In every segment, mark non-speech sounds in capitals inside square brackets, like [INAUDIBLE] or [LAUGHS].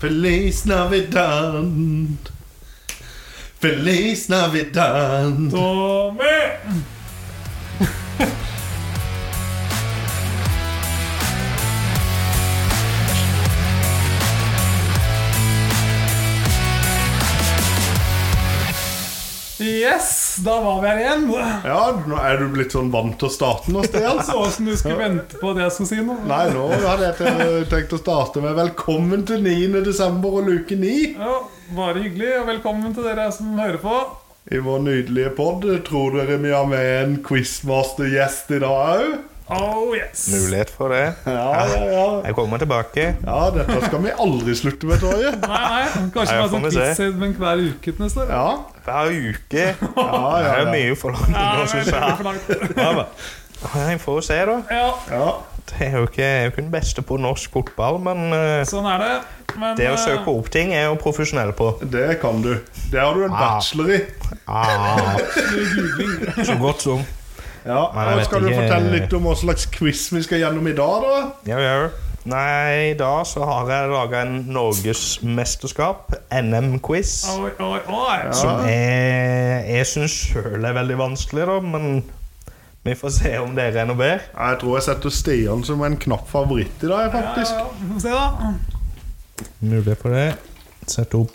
Feliz Navidad. Feliz Navidad. Tommy! Yes, da var vi her igjen. Ja, nå er du blitt sånn vant til å starte nå, Stian. Så åssen du skulle vente på det jeg skulle si nå. Nei, nå hadde jeg te- tenkt å starte med 'Velkommen til 9. desember og luke 9' Ja, bare hyggelig, og velkommen til dere som hører på. i vår nydelige pod. Tror dere vi har med en quizmaster-gjest i dag òg? Oh yes. Mulighet for det. Ja, ja, ja. Jeg kommer tilbake. ja, dette skal vi aldri slutte med, Torje. Nei, nei, kanskje Nei, bare får sånn vi se. quiz-segment hver uke til neste år. Ja, Hver uke. ja, Det ja. er ja. mye forlangt. Ja, nå, det synes er jeg. veldig forlangt. Ja, men. Jeg får se, da. Ja, ja. Det er jo ikke, jeg er jo ikke den beste på norsk fotball, men eh, sånn er det. Men det å eh, søke opp ting er jeg jo profesjonell på. Det kan du. Det har du en bachelor i. [LAUGHS] Ah, googling så godt som. Ja, Nei, jeg og vet Skal du ikke. fortelle litt om hva slags quiz vi skal gjennom i dag, da? Jau, jau. Nei, i dag så har jeg laga en norgesmesterskap, NM-quiz. Oi, oi, oi. Som jeg, jeg syns sjøl er veldig vanskelig, da, men vi får se om dere er noe bedre. Ja, Jeg tror jeg setter Stian som en knapp favoritt i dag, faktisk. Ja, ja. Se, da. Mulighet for det. Sett opp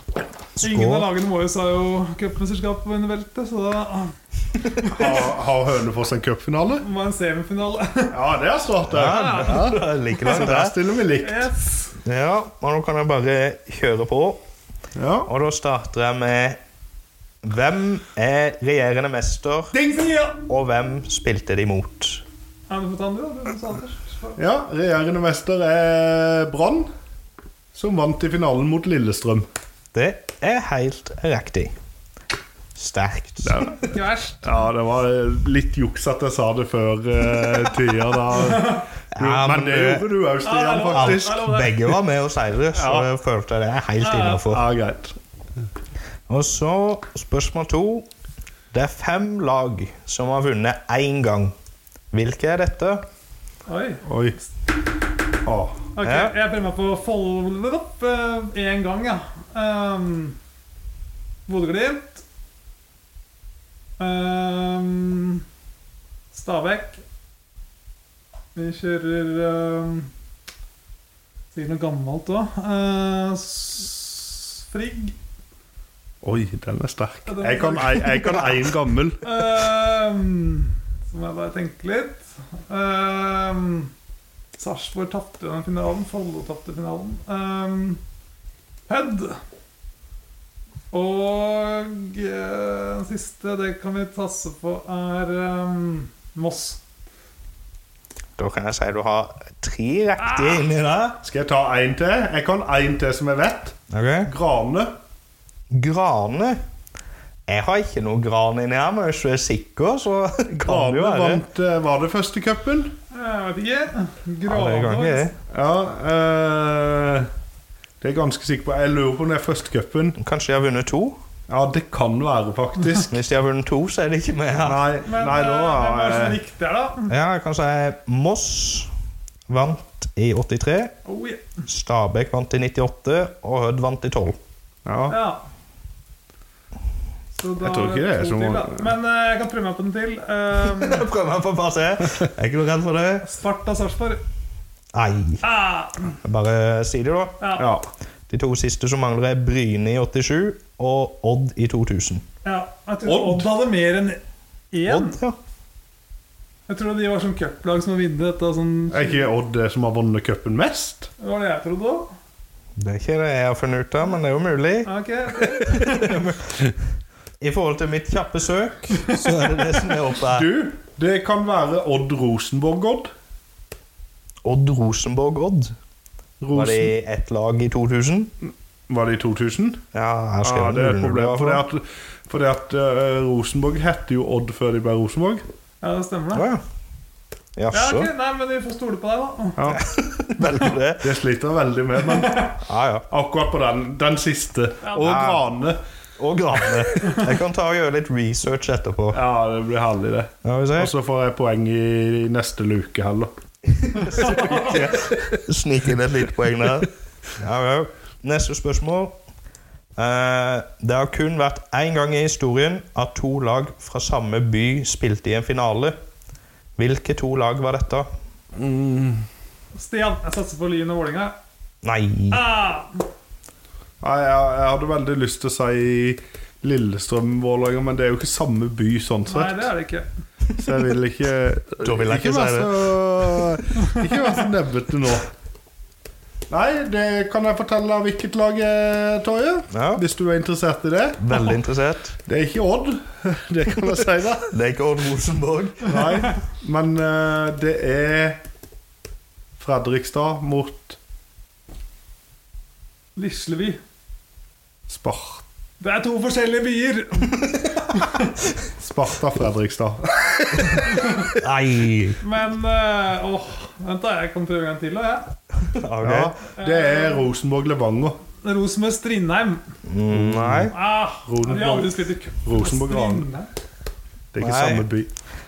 Ingen av skår. lagene våre har jo cupmesterskap under beltet, så da Har, har Hønefoss en cupfinale? må en semifinale. Ja, det er snart det. Ja, like Så langt der der. stiller vi likt. Yes. Ja, og nå kan jeg bare kjøre på. Ja. Og da starter jeg med Hvem er regjerende mester, Ding, ding, ja. og hvem spilte de mot? ja, du får ta den, du. da. Du, sa Anders. ja, regjerende mester er Brann, som vant i finalen mot Lillestrøm. Det er helt riktig. Sterkt. Ikke verst. Ja, det var litt juks at jeg sa det før eh, tida da. Du, Ja, men men det du- gjorde du òg, Ja, Stian, det er lov. faktisk. Ja, det var det. Begge var med og seiret, så Ja. jeg følte jeg det er helt ja. innafor. Ja, greit. Og så spørsmål to. Det er fem lag som har vunnet én gang. Hvilke er dette? Oi. Oi. Å, Ok, Ja. jeg prøver meg på å folde det opp én gang, ja. Um, Bodø-Glimt. Um, Stabæk. Vi kjører um, Sikkert noe gammelt òg. Frigg. Oi, den er sterk. Jeg kan ei- jeg kan én gammel. Um, så må jeg bare tenke litt. Um, Sarpsborg tapte jo den finalen. Follo tapte finalen. Um, Hødd. Og eh, den siste, det kan vi tasse på, er um, Moss. Da kan jeg si du har tre riktige inni der. Skal jeg ta én til? Jeg kan én til som jeg vet. Okay. Grane. Grane? Jeg har ikke noe gran inni her, men hvis du er sikker, så kan det Grane jo være vant eh, Var det første cupen? Eh, Jeg vet ikke. Ja, det kan ikke Grane. jeg. Ja. eh, det er jeg ganske sikker på. Jeg lurer på om det er første cupen. Kanskje de har vunnet to? Ja, det kan være, [LAUGHS] faktisk. Hvis de har vunnet to, så er de ikke med her. Nei, Men nei eh, nå hvem er det som er er riktig her, da? Ja, jeg kan si Moss vant i 83, Oh, yeah. Stabæk vant i 98, og Hødd vant i [LAUGHS] 12. ja. Ja. Så da Jeg tror ikke det er to så til, da. mange. Men eh, jeg kan prøve meg på den til. Um, Prøv meg på bare se. Jeg er ikke noe redd for det. Sparta Sarpsborg. Nei. Ah, Bare si det, da. ja, ja. ja. De to siste som mangler, er Bryne i 87 og Odd i 2000. Jeg tror Odd. Odd. hadde mer enn én. Odd, ja. Jeg trodde de var sånn cuplag som vinner dette. Sånn, Er ikke Odd det som har vunnet cupen mest? det var det jeg trodde òg. Det er ikke det jeg har funnet ut av, men det er jo mulig. I forhold til mitt kjappe [LAUGHS] søk, så er det det som er oppe her. Du, det kan være Odd Rosenborg-Odd. Odd Rosenborg-Odd. Var det Rosen. ett lag i 2000? Var det i 2000? Ja, her skrev Ja, jeg det er et 00, problem. i Fordi hvert fall. at, fordi at eh, Rosenborg hette jo Odd før de ble Rosenborg. Ja, det stemmer, Å det. ja. Ja, Jaså. ok, Nei, men vi får stole på deg, da. Ja, Velger det. Det sliter jeg veldig med, men Ja, ja. akkurat på den, den siste. Og Ja. Grane. Og Grane. Jeg kan ta og gjøre litt research etterpå. Ja, det blir herlig, det. Ja, vi Og ser. så får jeg poeng i, i neste luke heller. Snike inn et lite poeng der. [LAUGHS] Ja, ja. Neste spørsmål. Eh, det har kun vært én gang i historien at to lag fra samme by spilte i en finale. Hvilke to lag var dette? Stian, jeg satser på Lyn og Vålinga Nei Ah! Nei, jeg, jeg hadde veldig lyst til å si Lillestrøm-Vålerenga, men det er jo ikke samme by sånn Nei, sett. det er det ikke. Så jeg vil ikke Da vil jeg ikke være si så- Ikke være så nebbete nå. Nei, det kan jeg fortelle av hvilket lag, eh, Torje. Ja, Hvis du er interessert i det. Veldig interessert. Det er ikke Odd, [LAUGHS] det kan jeg si [LAUGHS] deg. Det er ikke Odd Rosenborg. Nei, men eh, det er Fredrikstad mot Lisleby. Spart Det er to forskjellige byer! Sparta Fredrikstad. Nei! Men eh, åh, Vent, da. Jeg kan prøve en gang til. da, jeg. [LAUGHS] Ok. Ja, det er Rosenborg-Levanger. Rosenborg Strindheim. Mm, Nei. Ah, Rosenborg- vi har aldri spilt i cup. Rosenborg Gran. Strindheim? Det er ikke Nei. samme by.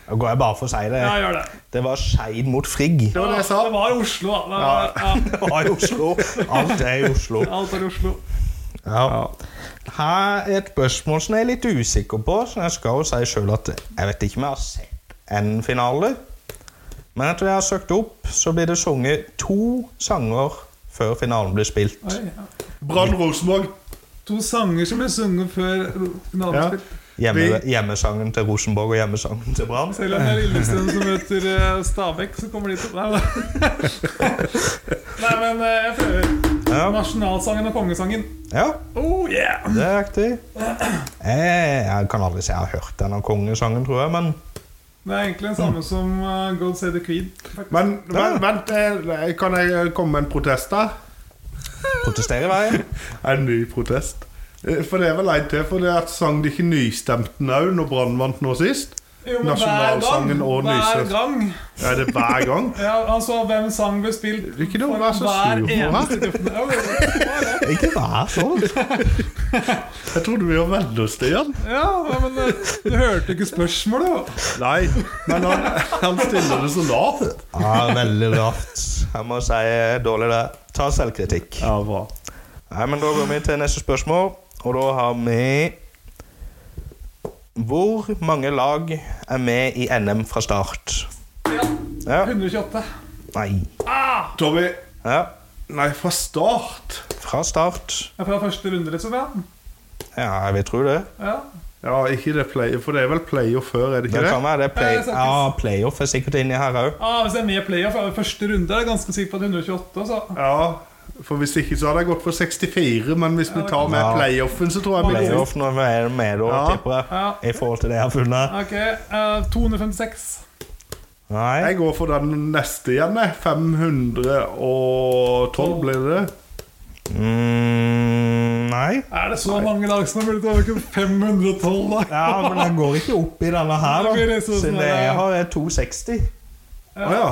Da går jeg bare for å si det. Ja, gjør det. Det var Skeid mot Frigg. Det var det jeg sa. Det var Oslo, da. Det var, ja. Det var i Oslo. Alt er i Oslo. Alt er Oslo. Ja. Her er et spørsmål som jeg er litt usikker på, så jeg skal jo si sjøl at jeg vet ikke om jeg har sett en finale. Men etter jeg har søkt opp, så blir det sunget to sanger før finalen blir spilt. Oi, ja. Brann Rosenborg. To sanger som ble sunget før Ja. finalespill. Hjemme, hjemmesangen til Rosenborg og hjemmesangen til Brann. Selv om det er Lillestrøm som møter eh, Stabæk, så kommer de til [LAUGHS] Nei, da. Nei men eh, jeg prøver. [LAUGHS] Ja. Nasjonalsangen og kongesangen. ja, Oh yeah! det er riktig. Jeg, jeg kan aldri si jeg har hørt denne kongesangen, tror jeg, men Det er egentlig den Mm. samme som eh, God Save the Queen. Men vent, vent eh, kan jeg komme med en protest der? protesterer i veien. En ny protest. Eh, For det er vel en til, for det er at sang de ikke nystemten òg når Brann vant nå sist? Jo, men Nasjonalsangen og hver nyset. gang. Er det hver [LAUGHS] gang? Ja, altså, hvem sang ble spilt er ikke noe å være så sur på, hæ? eneste gruppe? Ja, det var det. [LAUGHS] Ikke vær sånn. Jeg trodde vi var venner, Stian. Ja, men eh, du hørte ikke spørsmålet, jo. Nei, men han, han stiller det så lavt. Ja, veldig rart. Jeg må si eh, dårlig det. Ta selvkritikk. Ja, bra. Nei, men Da går vi til neste spørsmål, og da har vi Hvor mange lag er med i NM fra start? Ja, Ja. 128. Nei. Tommy, Ja. nei, fra start Fra start. Ja, Fra første runde, liksom? Ja. Ja, jeg vil tro det. ja. Ja, ikke det player, for det er vel player før, er det Det ikke det? kan være det play Ja, jeg snakkes. ja, playoff er sikkert inni her òg. Ah, hvis det er med i playoff, er det første runde. Er jeg ganske sikker på at 128, altså. Ja, for hvis ikke så hadde jeg gått for 64, men hvis vi tar med Ja. playoffen, så tror jeg vi går Playoff når vi er med, da, Ja. tipper jeg. Ja. I forhold til det jeg har funnet. Ok, eh, 256. Nei. Jeg går for den neste igjen, jeg. 512 blir det. Mm, nei. Er det så mange lag som har mulighet til å overkjøre 512 lag? Ja, men den går ikke opp i denne her, Det blir da. liksom Siden sånn, jeg ja. har er 260. Å ja. Hva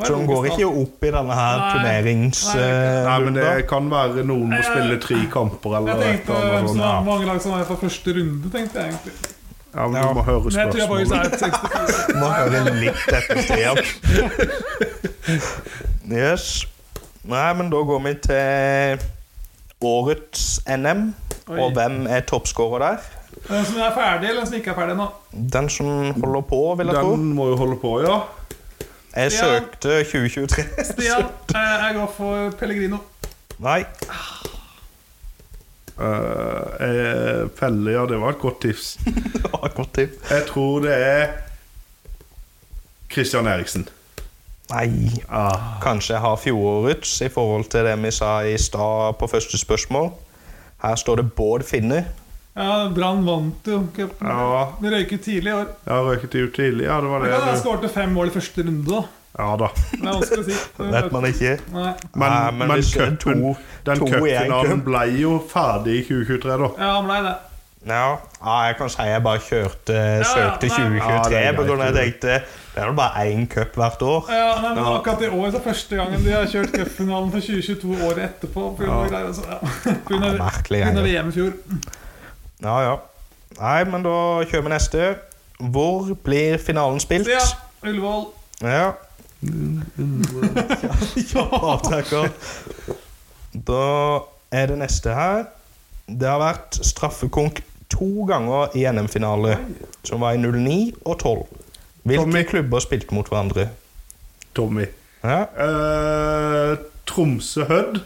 er Så den det går logisk, ikke da? opp i denne her eh, Nei. Nei, men det turneringsrunda. kan være noen må spille tre kamper Jeg eller et tenkte eller hvem annet som sånt. har mange lag som er fra første runde, tenkte jeg egentlig. Ja, men du må høre Men jeg tror jeg bare spørsmålet. er 64. Må høre litt etter Stian. Yes. Nei, men da går vi til årets NM. Oi. Og hvem er toppskårer der? Den som er ferdig, eller den som ikke er ferdig ennå? Den som holder på, vil jeg tro. Den må jo holde på, ja. Ja. Jeg søkte 2023. Stian, eh, jeg går for Pellegrino. [LAUGHS] Nei. Eh, eh, Pelle, ja, det var et godt tips. det var et Godt tipp. Jeg tror det er Christian Eriksen. Nei. Kanskje jeg har fjorårets i forhold til det vi sa i stad på første spørsmål. Her står det Bård Finne. Ja, Brann vant jo cupen. Ja, De røyket tidlig i år. jeg har røket ut tidlig. Ja, det var Men ja, de det. du- skårte fem mål i første runde, da. Ja da. Det er vanskelig å si. Vet man ikke. Nei. Men, Nei, men, Ah, hvis det er cupen- to- den to i en cupfinalen cup. ble jo ferdig i 2023, da. Ja, han ble det. Ja, ja, jeg kan si jeg bare kjørte, søkte nei. 2023 Ja, det er på grunn av at jeg greit, tenkte det er vel bare én cup hvert år. Ja, nei, men akkurat i år så er første gangen de har kjørt cupfinalen for 2022 året etterpå. På grunn av greier, altså, ja. På grunn av, Ja, merkelig på grunn av greier. VM i fjor. Ja, ja. Nei, men da kjører vi neste. Hvor blir finalen spilt? Ja, Ullevål. [LAUGHS] [LAUGHS] ja. ja avtrekker. Da er det neste her. Det har vært straffekonk to ganger i NM-finale, som var i 09 og 12. Hvilke Tommy. klubber spilte mot hverandre? Tommy. Ja. Eh, Tromsø Hødd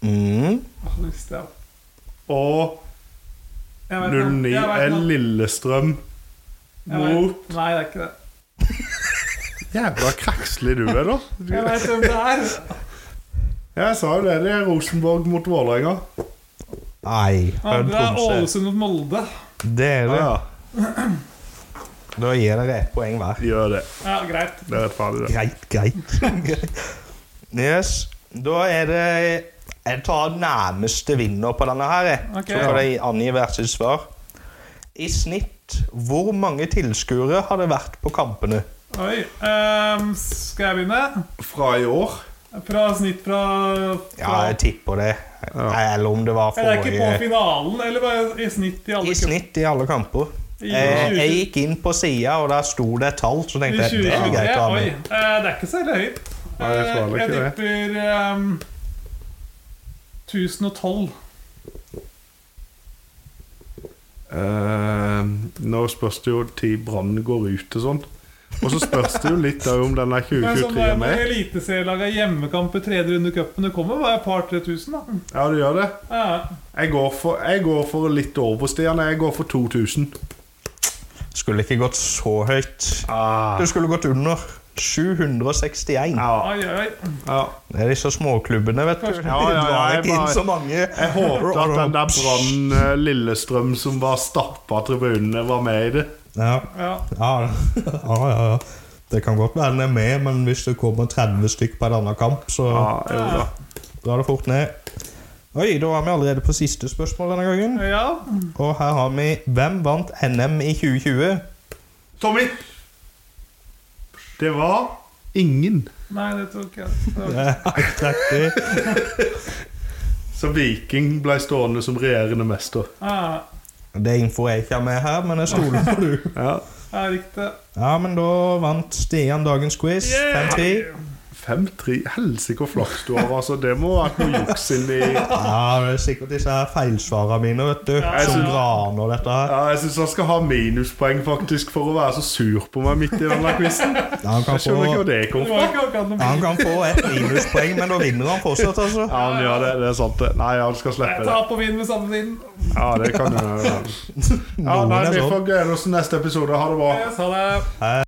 Mm. Ah, nå visste jeg. og Jeg vet noe. 09 Jeg vet er noe. Lillestrøm Jeg vet- mot Nei, det er ikke det. Jævla krakslig du er, da. Jeg Du- vet hvem det er. Jeg sa jo det. Det er Rosenborg mot Vålerenga. Nei, Hødd Det er Tromsø. Ålesund mot Molde. Dere, Ja, da gir dere ett poeng hver. gjør det. Ja, greit. Det er rettferdig, det. Greit, greit. Greit. [LAUGHS] yes. Da er det Jeg tar nærmeste vinner på denne her. jeg. Ok. Så får de angi hvert sitt svar. I snitt, hvor mange tilskuere har det vært på kampene? Oi. ehm, skal jeg begynne? Fra i år Fra snitt fra, Ja, fra jeg tipper det. Eller om det var Er det ikke på forrige finalen, eller bare i snitt i alle I snitt i alle kamper. I Eh, 20. Jeg gikk inn på sida, og der sto det et tall, så I tenkte jeg det er 2023? greit å ha Oi. med. eh, Det er ikke så veldig høyt. Nei, jeg svarer Eh, ikke jeg det. tipper ehm, 1012. Eh, Nå spørs det jo til Brann går ut og sånn. Og så spørs det jo litt da om den er Men som 2023 det er er med med. eliteserielaget hjemmekamp i tredje runde i cupen, det kommer bare et par-tre tusen, da. Ja, du gjør det. Ja. Jeg går for, jeg går for litt over, Stian. Jeg går for 2000. Skulle ikke gått så høyt. Ah. Du skulle gått under 761. Ja, Oi, oi. ja. Det er disse småklubbene, vet du. [LAUGHS] Ja, ja, ja, Det var jeg ikke inn bare- så mange. Jeg håpet at den der Brann eh, Lillestrøm som var stappa tribunene, var med i det. Ja, Ja. ja, ja, ja, ja. Det kan godt være den er med, men hvis det kommer 30 stykk på en annen kamp, så Ja, jo da. drar det fort ned. Oi, da var vi allerede på siste spørsmål denne gangen. ja. Og her har vi Hvem vant NM i 2020? Tommy! Det var ingen. Nei, det tror ikke jeg. Det var- [LAUGHS] Det er helt riktig. Så Viking ble stående som regjerende mester. Ja, Det er info jeg ikke har med her, men jeg stoler på du. Ja. ja, riktig. Ja, men da vant Stian dagens quiz. 5-10. 5-3 Helsike hvor flaks du har, altså. Det må ha vært noe juks inni ja, Ja, det er sikkert disse her feilsvarene mine, vet du. Ja, som ja. graner dette her. Jeg syns han skal ha minuspoeng, faktisk, for å være så sur på meg midt i denne quizen. Han kan, Jeg skjønner ikke få, hvor det kom Det fra. var ikke akkurat noe han kan få et minuspoeng, men da vinner han fortsatt, altså. Ja, han gjør det. Det er sant, det. Nei, han skal Jeg slippe det. tar på vinn med samme vinn. Ja, det kan du gjøre. Ja, Noen nei, er vi sånn. får glede oss til neste episode. Ha det bra. Jeg sa det.